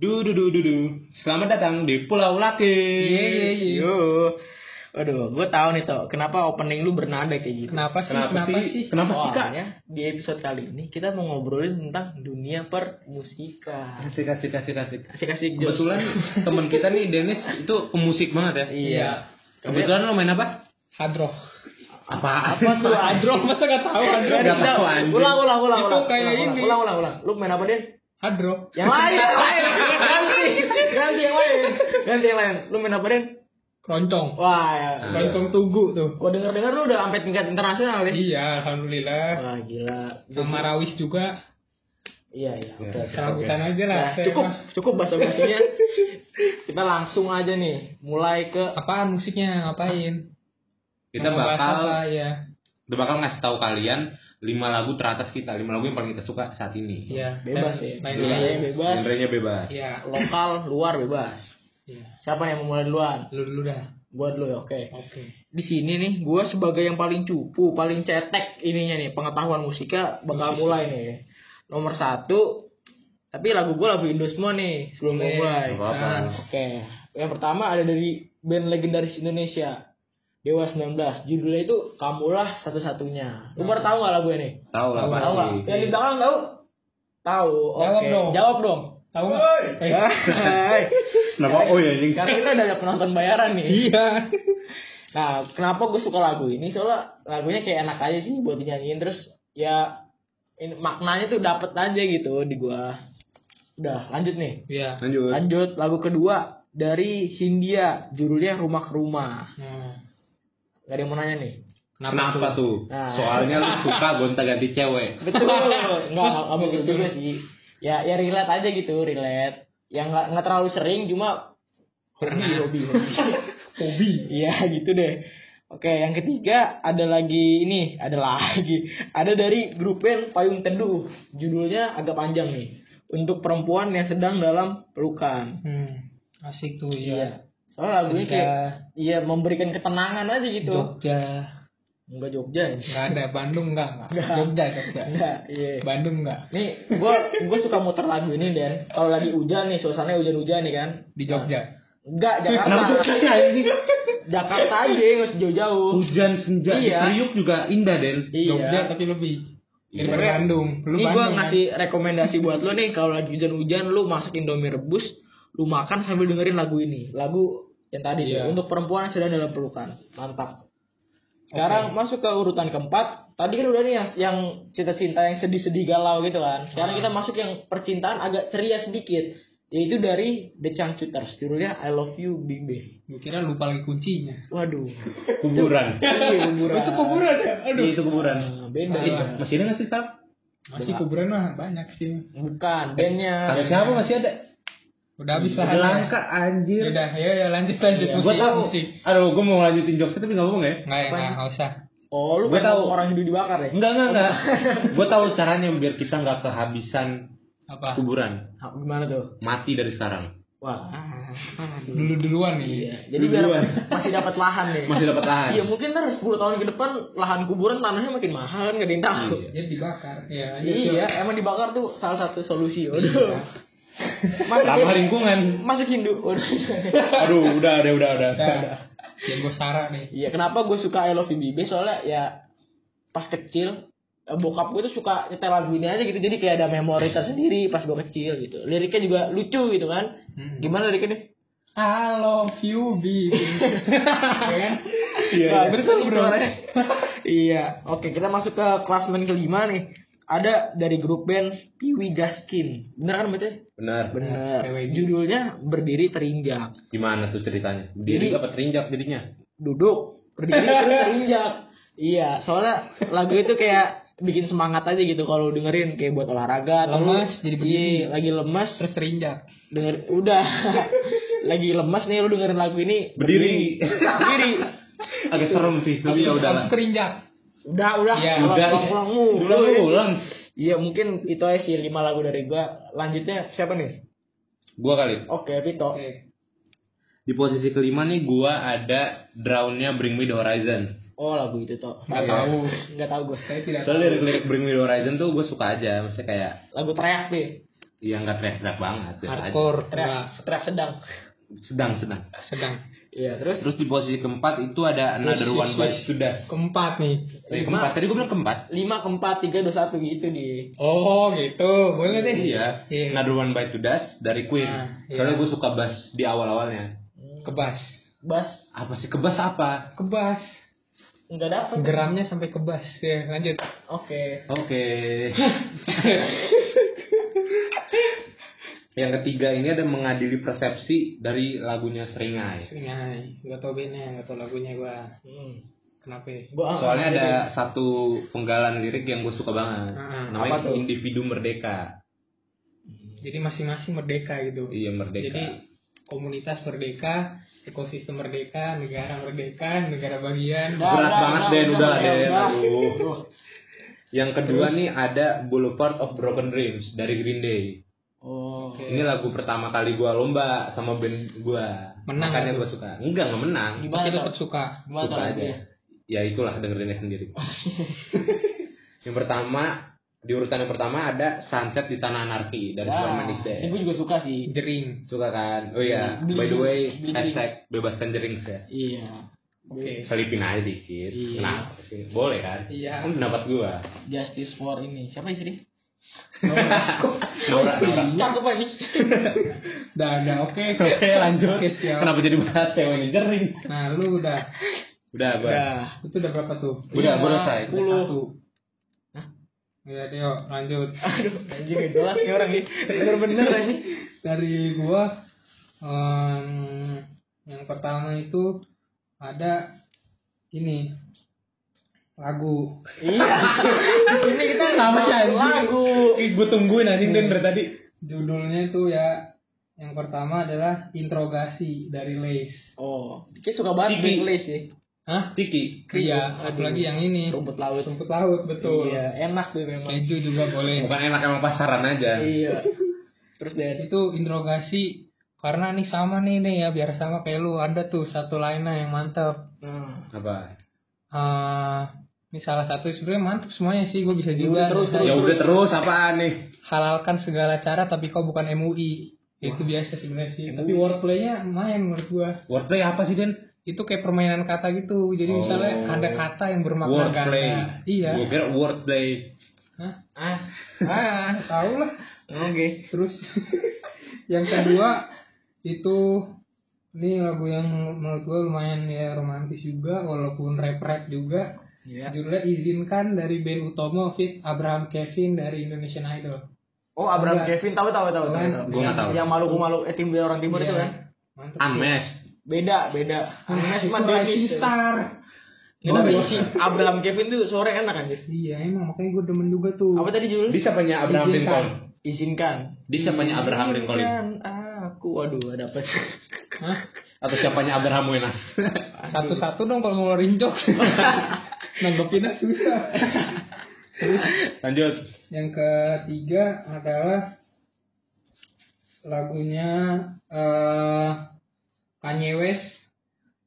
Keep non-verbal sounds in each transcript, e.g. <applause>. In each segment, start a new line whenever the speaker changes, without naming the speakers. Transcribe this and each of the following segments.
Du, du, du, du, du. Selamat datang di Pulau Laki.
Iya, iya, iya.
Yo.
Aduh, gue tahu nih toh kenapa opening lu bernada kayak gitu.
Kenapa sih?
Kenapa sih? Kenapa sih, Kak?
Soalnya di episode kali ini kita mau ngobrolin tentang dunia permusikan.
Asik, asik, asik, asik.
Asik-asik Jos.
Kebetulan teman kita nih Dennis itu pemusik banget ya.
Iya.
Kebetulan lo main apa?
Hadroh.
Apa?
Apa tuh
Hadroh masa gak tahu Hadroh?
Nggak
Udah,
tahu, anjing.
Ulang, ulang, ulang,
Itu
ulang.
kayak
ulang,
ini.
Ulang, ulang, ulang. Lu main apa, Den?
Hadroh.
Yang lain, yang lain. Ganti. Ganti yang lain. Ganti yang lain. Lu main apa, Den?
Keroncong.
Wah, ya.
Keroncong tugu tuh.
Gua denger-denger lu udah sampai tingkat internasional deh.
Iya, alhamdulillah.
Wah, gila.
Sama Rawis juga.
Iya, iya. Oke, oke.
Serabutan aja lah.
Nah,
saya
cukup,
mah.
cukup bahasa basinya. Kita langsung aja nih, mulai ke
Apaan musiknya? Ngapain?
Kita
Mau bahas apa,
bakal
ya.
kita bakal ngasih tahu kalian lima lagu teratas kita, lima lagu yang paling kita suka saat ini.
Iya.
Bebas ya.
dan lain-lain.
Iya, iya, bebas.
Genrenya bebas.
Iya.
lokal, luar bebas.
Iya.
Siapa nih yang mau mulai duluan?
Lu dulu dah.
Gua dulu ya, oke.
Oke.
Di sini nih, gua sebagai yang paling cupu, paling cetek ininya nih, pengetahuan musiknya bakal mulai nih. Nomor satu, tapi lagu gua lagu Indo semua nih, sebelum gua
Boleh.
mulai.
Nggak apa-apa.
Nah, Oke, yang pertama ada dari band legendaris Indonesia. Dewa 19, judulnya itu Kamulah Satu-Satunya. Lu
Nah.
baru tahu gak lagu ini?
Tahu lah
Tahu nggak?
pasti.
Yang di belakang tahu? Tahu. Oke.
Jawab dong.
Jawab dong.
Tahu nggak? Eh,
Hai.
Kenapa? Oh ya anjing.
Karena kita udah ada penonton bayaran nih.
Iya.
Nah, kenapa gue suka lagu ini? Soalnya lagunya kayak enak aja sih buat dinyanyiin terus ya ini, maknanya tuh dapet aja gitu di gua. Udah, lanjut nih.
Iya.
Lanjut.
Lanjut lagu kedua dari Hindia, judulnya Rumah ke Rumah.
Nah,
Gak ada yang mau nanya nih.
Kenapa, tuh?
Nah.
Soalnya lu suka gonta-ganti cewek.
<laughs> Betul. Enggak, enggak begitu juga sih. Ya, ya relate aja gitu, relate. Yang enggak enggak terlalu sering cuma hobi, hobi, hobi. <laughs> hobi. Iya, gitu deh. Oke, yang ketiga ada lagi ini, ada lagi. Ada dari grup band Payung Teduh. Judulnya agak panjang nih. Untuk perempuan yang sedang dalam pelukan.
hmm. Asik tuh ya.
Iya. Soalnya lagunya
Jogja.
kayak iya memberikan ketenangan aja gitu.
Jogja.
Enggak Jogja. ya?
Enggak ada Bandung enggak, enggak. Jogja, Jogja.
Enggak, iya.
Bandung enggak.
Nih, gue gue suka muter lagu ini dan kalau lagi hujan nih, suasananya hujan-hujan nih kan.
Di Jogja.
Enggak Jakarta, Jakarta aja nggak usah jauh-jauh.
Hujan senja di
Iya.
Priuk juga indah, Den.
Iya.
Jogja tapi lebih daripada
Iya.
Bandung. Lu
Ini gue
Bandung kan?
ngasih rekomendasi buat lo nih kalau lagi hujan-hujan lu masak indomie rebus, lu makan sambil dengerin lagu ini, lagu yang tadi
Iya.
tuh, untuk perempuan yang sedang dalam pelukan, mantap. Sekarang masuk ke urutan keempat. Tadi kan udah nih yang, yang cinta-cinta yang sedih-sedih galau gitu kan.
Ah.
Sekarang kita masuk yang percintaan agak ceria sedikit. Yaitu dari The Changcuters. Judulnya I Love You Baby.
Gue kira lupa lagi kuncinya.
Waduh.
Kuburan.
Iya, kuburan.
<laughs> Itu kuburan ya? Aduh. Ah, Iya.
Iya, itu kuburan.
Nah, beda.
Eh, masih ada nggak sih, Sal?
Masih kuburan mah banyak sih.
Bukan, bandnya.
Kata siapa masih ada?
Udah habis lah.
Langka anjir.
Udah, ya ya lanjut lanjut
Iya,
musik.
Gue tahu.
musik.
Aduh, gue mau lanjutin jokesnya tapi nggak ngomong ya.
Enggak ya,
Apaan?
enggak usah.
Oh, lu
Gua
kan
tahu.
orang hidup dibakar ya?
Enggak, enggak, <laughs> enggak. gue tahu caranya biar kita nggak kehabisan
Apa?
kuburan.
Ah, Gimana tuh?
Mati dari sekarang.
Wah. aduh.
Dulu duluan nih.
Iya, jadi biar
Duluan.
masih dapat lahan nih.
Masih dapat lahan.
Iya, mungkin ntar 10 tahun ke depan lahan kuburan tanahnya makin mahal kan gak ada yang tahu.
Iya.
Dia dibakar. Iya, lanjut.
Iya, emang dibakar tuh salah satu solusi.
Iya.
Waduh.
Ramah
Masukin,
lingkungan.
masukin dulu. Waduh.
Aduh, udah, udah, udah, udah.
Udah. Ya gue sara nih.
Iya, kenapa gue suka I Love You Baby? Soalnya ya pas kecil eh, bokap gue tuh suka nyetel lagu ini aja gitu jadi kayak ada memori tersendiri pas gue kecil gitu liriknya juga lucu gitu kan
Hmm.
gimana liriknya nih
I love you, baby. Ya kan?
Wah,
iya.
betul, bro. Nah, <laughs> iya. Oke, kita masuk ke klasmen kelima nih. Ada dari grup band Piwi Gaskin. Bener kan baca?
Benar.
Bener.
PWG.
Judulnya Berdiri Terinjak.
Gimana tuh ceritanya? Diri
Jadi-
apa terinjak jadinya?
Duduk, berdiri terus
<laughs>
terinjak. Iya, soalnya lagu itu kayak bikin semangat aja gitu kalau dengerin kayak buat olahraga atau lu-
Lemas, jadi berdiri.
Iya, lagi lemes
Terus terinjak.
denger
<laughs>
udah lagi lemes nih lu dengerin lagu ini
Berdiri.
berdiri
Agak serem sih, tapi ya
Terus
udahlah.
terinjak.
udah udah
Iya,
ulang,
udah.
ulang, ulang, ulang.
Ulang, ulang.
Iya mungkin itu aja sih lima lagu dari gua. Lanjutnya siapa nih?
Gua kali.
Oke Vito.
Oke.
Di posisi kelima nih gua ada Drownnya Bring Me The Horizon.
Oh lagu itu toh.
Enggak
Iya.
tahu.
Enggak tahu gue.
Saya tidak
Soalnya lirik-lirik Bring Me The Horizon tuh gue suka aja, maksudnya kayak
Lagu teriak nih.
yang nggak teriak-teriak banget biasa aja.
hardcore nggak
Teriak, teriak sedang.
sedang sedang
sedang
Iya, terus
terus di posisi keempat itu ada another
Yes, yes,
one by
yes.
Sudas
keempat nih
Eh, keempat tadi gue bilang keempat
5 ke 4, 3, 2, 1 gitu di.
oh gitu boleh deh
iya
Iya.
another one by Sudas dari Queen
Ah, iya.
soalnya gue suka bass di awal-awalnya
kebas
Bas
apa sih kebas apa
kebas
enggak dapet.
geramnya sampai kebas ya lanjut
Oke.
oke yang ketiga ini ada mengadili persepsi dari lagunya Seringai
Seringai, gak Iya, tau bandnya, gak tau lagunya gua
Hmm.
Kenapa ya?
Gua
Soalnya ada satu penggalan lirik yang gue suka banget.
Ah,
Namanya
apa tuh?
Individu Merdeka.
Jadi masing-masing merdeka gitu
Iya, merdeka.
Jadi komunitas merdeka, ekosistem merdeka, negara merdeka, negara bagian
Nah.
Berat
udah,
banget
udah,
Den,
udah,
udah
udah,
Den.
udah.
aduh.
Aduh.
Yang kedua nih ada Boulevard of Broken Dreams dari Green Day.
Oh.
Oke.
Ini lagu pertama kali gue lomba sama band gue.
Menang
Makanya
nggak
gue suka. Enggak, nggak menang.
Gimana
Tapi
tuh?
tetap suka
Gimana tuh
Suka
lagunya?
aja. Ya itulah dengerinnya
<laughs>
sendiri. yang pertama di urutan yang pertama ada Sunset di Tanah Anarki dari
Nah,
Superman Is Dead.
ini gue juga suka sih.
Jering
suka kan oh iya
Beli-
by the way
beli
hashtag bebaskan jerings ya
Iya.
Oke
selipin aja dikit
Iya.
kenapa sih boleh kan
Iya.
kan pendapat gua
Justice for ini. Siapa istri?
Nora Nora
Cakep ini.
Udah, udah, oke <laughs>
oke lanjut
Oke,
<laughs>
siap.
kenapa jadi bahas cewek ini jering
Nah lu udah,
udah gua
Udah.
itu udah berapa tuh? Iya.
udah
Lima,
gua selesai
sepuluh.
Nah, Satu Ya Tio, lanjut
Aduh, anjing gak jelas nih orang ini.
<laughs>
Bener-bener ini.
dari gua em, yang pertama itu ada ini lagu
Iya. Ini kita
Sama
nggak
aja.
lagu.
gue tungguin anjing
Den, dari
tadi
judulnya itu ya yang pertama adalah interogasi dari Lace
Oh, dia suka banget
Ciki.
English sih.
Hah?
Ciki
Iya, satu lagi yang ini
Rumput laut.
rumput laut betul.
Iya, enak tuh memang.
Keju juga boleh.
bukan enak emang pasaran aja
Iya. Terus dari
Itu interogasi karena nih sama nih nih ya biar sama kayak lu ada tuh satu lainnya yang mantep.
Nah,
apa
Eh, ini salah satu sebenarnya mantep semuanya sih gue bisa
Iya,
juga
Terus, terus,
ya udah terus apaan nih
halalkan segala cara tapi kau bukan MUI itu biasa sebenarnya sih tapi wordplaynya main menurut gua
wordplay apa sih Den
itu kayak permainan kata gitu jadi
Oh.
misalnya ada kata yang bermakna
wordplay
ganda iya
gue kira wordplay
Hah?
ah,
ah tahu lah
oke.
terus <laughs> yang kedua itu ini lagu yang menurut gua lumayan ya romantis juga walaupun rap rap juga
Iya.
judulnya izinkan dari Ben Utomo fit Abraham Kevin dari Indonesian Idol
Oh, Abraham
Enggak.
Kevin tahu tahu tahu tahu.
Enggak.
tahu.
Gua nggak tahu.
Yang malu malu eh tim orang timur itu
Iya.
kan.
mantep
unmesh
Beda, beda. Anes
Itu
mah
Rising
Dennis.
Star
Kita
Oh,
dari
iya.
si Abraham Kevin tuh sore enak kan? Jis?
Iya emang makanya gue demen juga tuh.
Apa tadi judul?
di siapanya Abraham
Izinkan.
Lincoln
Izinkan.
di siapanya Abraham Lincoln
Izinkan aku waduh ada apa sih?
Hah?
atau siapanya Abraham Wenas
Satu-satu dong kalau ngeluarin jok. Nanggepinnya susah.
lanjut
Yang ketiga adalah lagunya eh Kanye West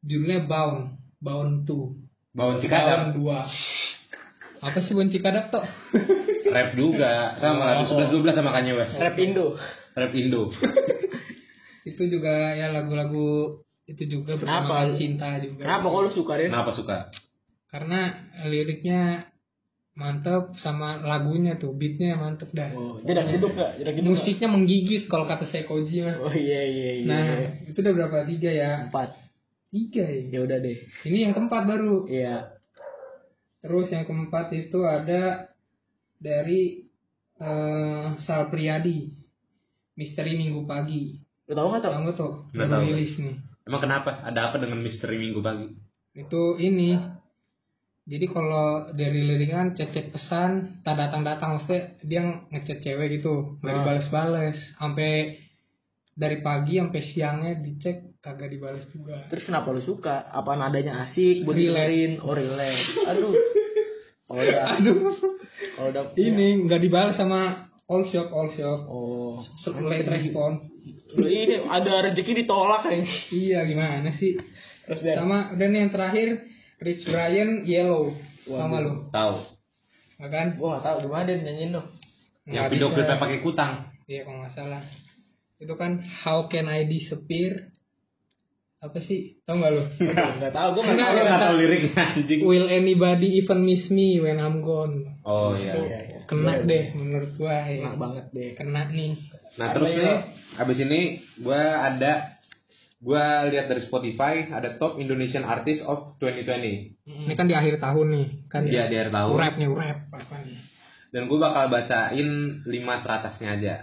judulnya Bound, Bound 2.
bawon
Bound
cikadap
2. Apa sih Bound Cikadap tuh?
rap juga sama lagu 11 12 sama Kanye West
Rap Indo.
rap Indo
Itu juga ya lagu-lagu itu juga
Kenapa
bertema
lu-
cinta juga.
Kenapa kok lu suka deh?
kenapa suka
Karena liriknya mantep sama lagunya tuh, beatnya mantep dah.
Oh, jedak jeduk gak? Jedak jeduk nggak?
musiknya menggigit kalau kata Sekoji mah.
Oh iya iya iya.
Nah, itu udah berapa tiga ya?
empat.
Tiga ya.
Ya udah deh.
Ini yang keempat baru.
Iya.
Terus yang keempat itu ada dari eh Sal Priadi. Misteri Minggu Pagi.
Lu tahu nggak tau?
Tahu nggak tuh?
Nggak
Baru
tahu.
rilis nih.
emang kenapa ada apa dengan misteri minggu pagi
Itu ini. Jadi kalau dari lirikan cecet pesan, tak datang-datang maksudnya dia ngechat cewek gitu, nggak
Ah.
dibales-bales. Sampai dari pagi sampai siangnya dicek kagak dibales juga.
Terus kenapa lu suka? Apa nadanya asik? Buat
Relate.
dilerin? Oh relate. Aduh. Kalau udah,
Aduh.
kalau udah
ini nggak dibalas sama all shop all shop
Oh.
late respon
Lu ini ada rezeki ditolak kan?
iya gimana sih
Terus dari
sama dan yang terakhir Rich Brian Yellow sama lu
tahu
ya kan
Gua nggak tahu gimana dia nyanyiin dong.
yang
Nggak
video
bisa.
klipnya pakai kutang
Iya kalau nggak salah. Itu kan How Can I Disappear? Apa sih? Tau nggak lu?
Enggak tahu gue
Lu
enggak
Enggak, enggak.
tahu.
nggak tahu liriknya anjing.
Will anybody even miss me when I'm gone?
Oh iya.
Iya, iya.
Kena deh menurut gua ya.
Kena banget deh.
Kena nih.
Nah
Apa
terus
ya,
nih,
Lo?
abis ini gue ada gue lihat dari Spotify ada top Indonesian Artist of 2020.
Ini kan di akhir tahun nih. Kan
Iya di akhir tahun.
Urap nih urap. Apa nih?
Dan gue bakal bacain lima teratasnya aja.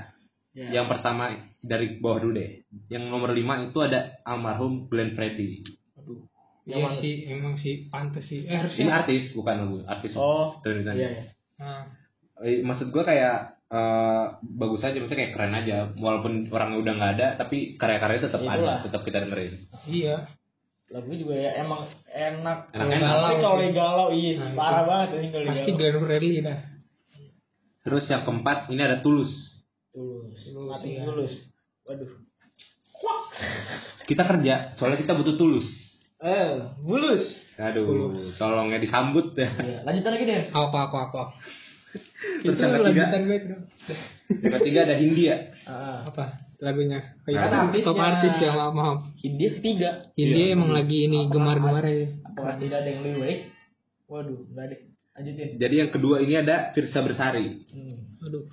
Ya, Iya.
Yang pertama dari bawah dulu deh. Yang nomor lima itu ada almarhum Glenn Freddy.
Aduh.
Iya
Yang
sih, emang sih pantas sih. Eh, harusnya.
Ini artis bukan lagu, artis.
Oh,
Dari
mana?
tadi.
Iya, iya.
Nah,
Eh, Maksud gue kayak eh, bagus aja, maksudnya kayak keren aja. Walaupun orangnya udah nggak ada, tapi karya-karyanya tetap
Itulah.
ada, tetap kita dengerin.
iya.
Lagu juga ya emang
Enak,
enak. Tapi
enak.
kalau lagi galau iya
Nah,
parah banget ini kalau lagi
Pasti
galau.
Glenn Fredly dah.
Terus yang keempat ini ada Tulus.
Tulus.
Tulus,
Mati
iya.
tulus. Waduh.
Kita kerja, soalnya kita butuh tulus.
Eh, bulus.
Aduh,
Tulus.
tolongnya disambut ya.
Iya, lanjutan lagi deh.
Aku aku aku aku.
Terus
Itu
yang ketiga,
lanjutan gue itu.
yang ketiga ada Hindia.
Ah,
Apa? Lagunya. Oh,
Nah,
iya. Top
artisnya.
artis ya, Iya, maaf maaf.
India ketiga.
India emang lagi ini gemar-gemar ya.
Apakah tidak ada yang lebih baik? Waduh, enggak deh. Lanjutin.
Jadi yang kedua ini ada Firsa Bersari.
Hmm.
Aduh,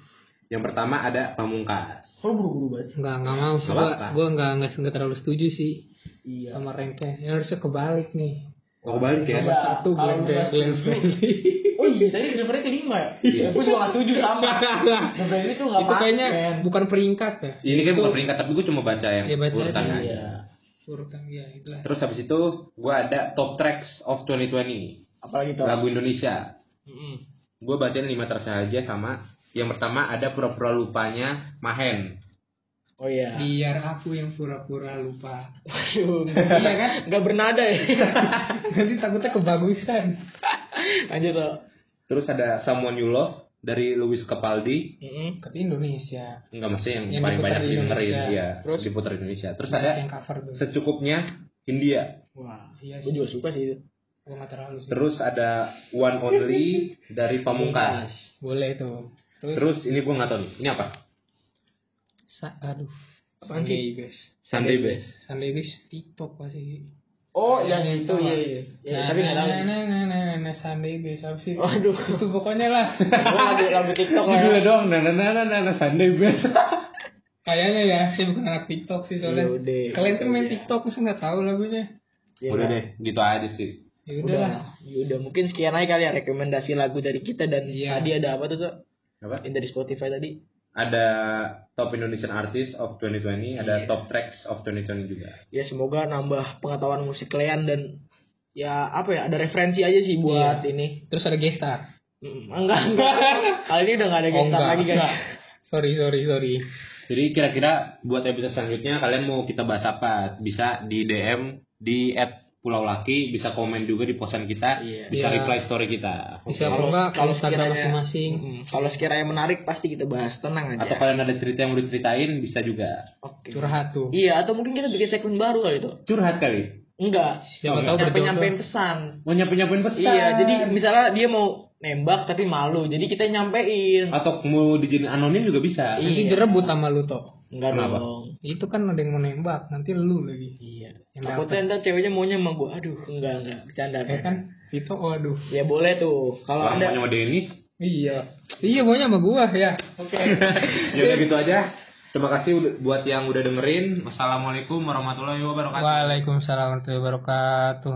Yang pertama ada Pamungkas.
Kok buru-buru banget sih?
nggak nggak mau sih.
Nggak
Gua
apa-apa.
gua nggak nggak nggak terlalu setuju sih
Iya.
sama ranknya. Ini harusnya kebalik nih.
Oh, balik ya.
Iya.
Satu
kalau
Glenn
lu nggak
Glenn <laughs> Fredly.
Oh iya, tadi Gilbert kelima ya? Iya. Gue juga gak setuju
<laughs>
sama. Gilbert itu gak
Itu
masuk,
kayaknya
men.
bukan peringkat ya.
Ini kan bukan peringkat, tapi gue cuma baca yang
Iya, baca
urutannya
aja.
aja.
Urutan ya itulah.
Terus habis itu gue ada Top Tracks of 2020.
Apalagi tuh.
Lagu Indonesia. Gue bacain lima tersahaja sama yang pertama ada pura-pura lupanya Mahen.
Oh iya. <laughs>
Biar aku yang pura-pura lupa. <laughs>
Waduh.
Iya kan?
Gak bernada ya.
Nanti takutnya kebagusan.
<laughs> Lanjut tuh.
Terus ada Someone You Love dari Louis Capaldi.
Tapi Indonesia.
Enggak maksudnya yang,
Yang
paling
diputar
banyak
di
diputerin
Indonesia.
ya. Terus
Terus?
diputar di Indonesia. Terus ada
Banyak yang cover tuh.
secukupnya India.
Wah,
Iya
gue
sih.
juga suka sih itu.
Gue nggak terlalu sih.
Terus ada One Only dari Pamungkas.
Boleh tuh. Terus,
Terus ini gua nggak tahu nih. Ini apa?
sa- aduh.
Apaan
Apaan
sih?
sih? Guys.
Sunday Best.
Sunday Wish TikTok pasti.
Oh, yang itu iya iya. Ya, tapi gak tahu.
nah, nah, nah, nah, nah, nah, Sunday Wish apa sih?
Waduh.
Itu pokoknya
<laughs>
lah.
Gue lagu lagu
<laughs>
TikTok lah.
Judulnya doang. Nah, nah, nah, nah, nah, nah, Sunday
<laughs>
Best.
Kayaknya ya, saya bukan anak TikTok sih soalnya.
Yaudah.
Kalian kan
Iya.
main TikTok, masa nggak tahu lagunya?
Ya,
Udah deh, gitu aja sih.
Ya udah lah.
Udah, ya udah mungkin sekian aja kali ya rekomendasi lagu dari kita dan
Iya.
tadi ada apa tuh tuh?
Apa?
Yang dari Spotify tadi.
Ada Top Indonesian Artist of 2020, ada
Iya.
Top Tracks of 2020 juga.
ya semoga nambah pengetahuan musik kalian dan ya apa ya ada referensi aja sih buat
Iya.
ini
Terus ada gestar. Oh,
Mm, enggak
<laughs>
enggak kali ini udah gak ada gestar lagi guys
Sorry, sorry, sorry.
Jadi kira-kira buat episode selanjutnya kalian mau kita bahas apa? Bisa di DM di at Pulau Laki, bisa komen juga di posan kita,
Iya.
bisa
Iya.
reply story kita.
Bisa
Oke.
kalau nggak kalau
kalau
Instagram
sekiranya-
masing-masing.
Mm, kalau sekiranya menarik pasti kita bahas tenang aja
Atau kalian ada cerita yang mau diceritain bisa juga.
Oke.
Curhat tuh.
iya atau mungkin kita bikin segmen baru kali itu
Curhat kali.
enggak
Siapa tahu
nyampe nyampein
berjodoh.
pesan
Mau nyampe-nyampein pesan.
iya jadi misalnya dia mau nembak tapi malu jadi kita nyampein
atau mau dijadiin anonim juga bisa.
Iya.
Nanti direbut sama lu toh.
enggak
Kenapa?
dong
Itu kan ada yang mau nembak, nanti lu lagi.
iya
Yang
takutnya ntar ceweknya maunya sama gue aduh enggak enggak bercanda
Ya kan? Itu waduh.
ya boleh tuh kalau
Orang
ada
maunya sama Denis.
Iya. Iya, maunya sama gua ya.
<laughs> ya udah gitu aja. Terima kasih udah- buat yang udah dengerin. Wassalamualaikum warahmatullahi wabarakatuh.
Waalaikumsalam warahmatullahi wabarakatuh.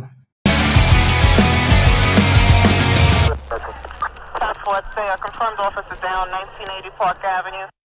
Top 4 Fair. Confirmed officer down 1980 Park Avenue.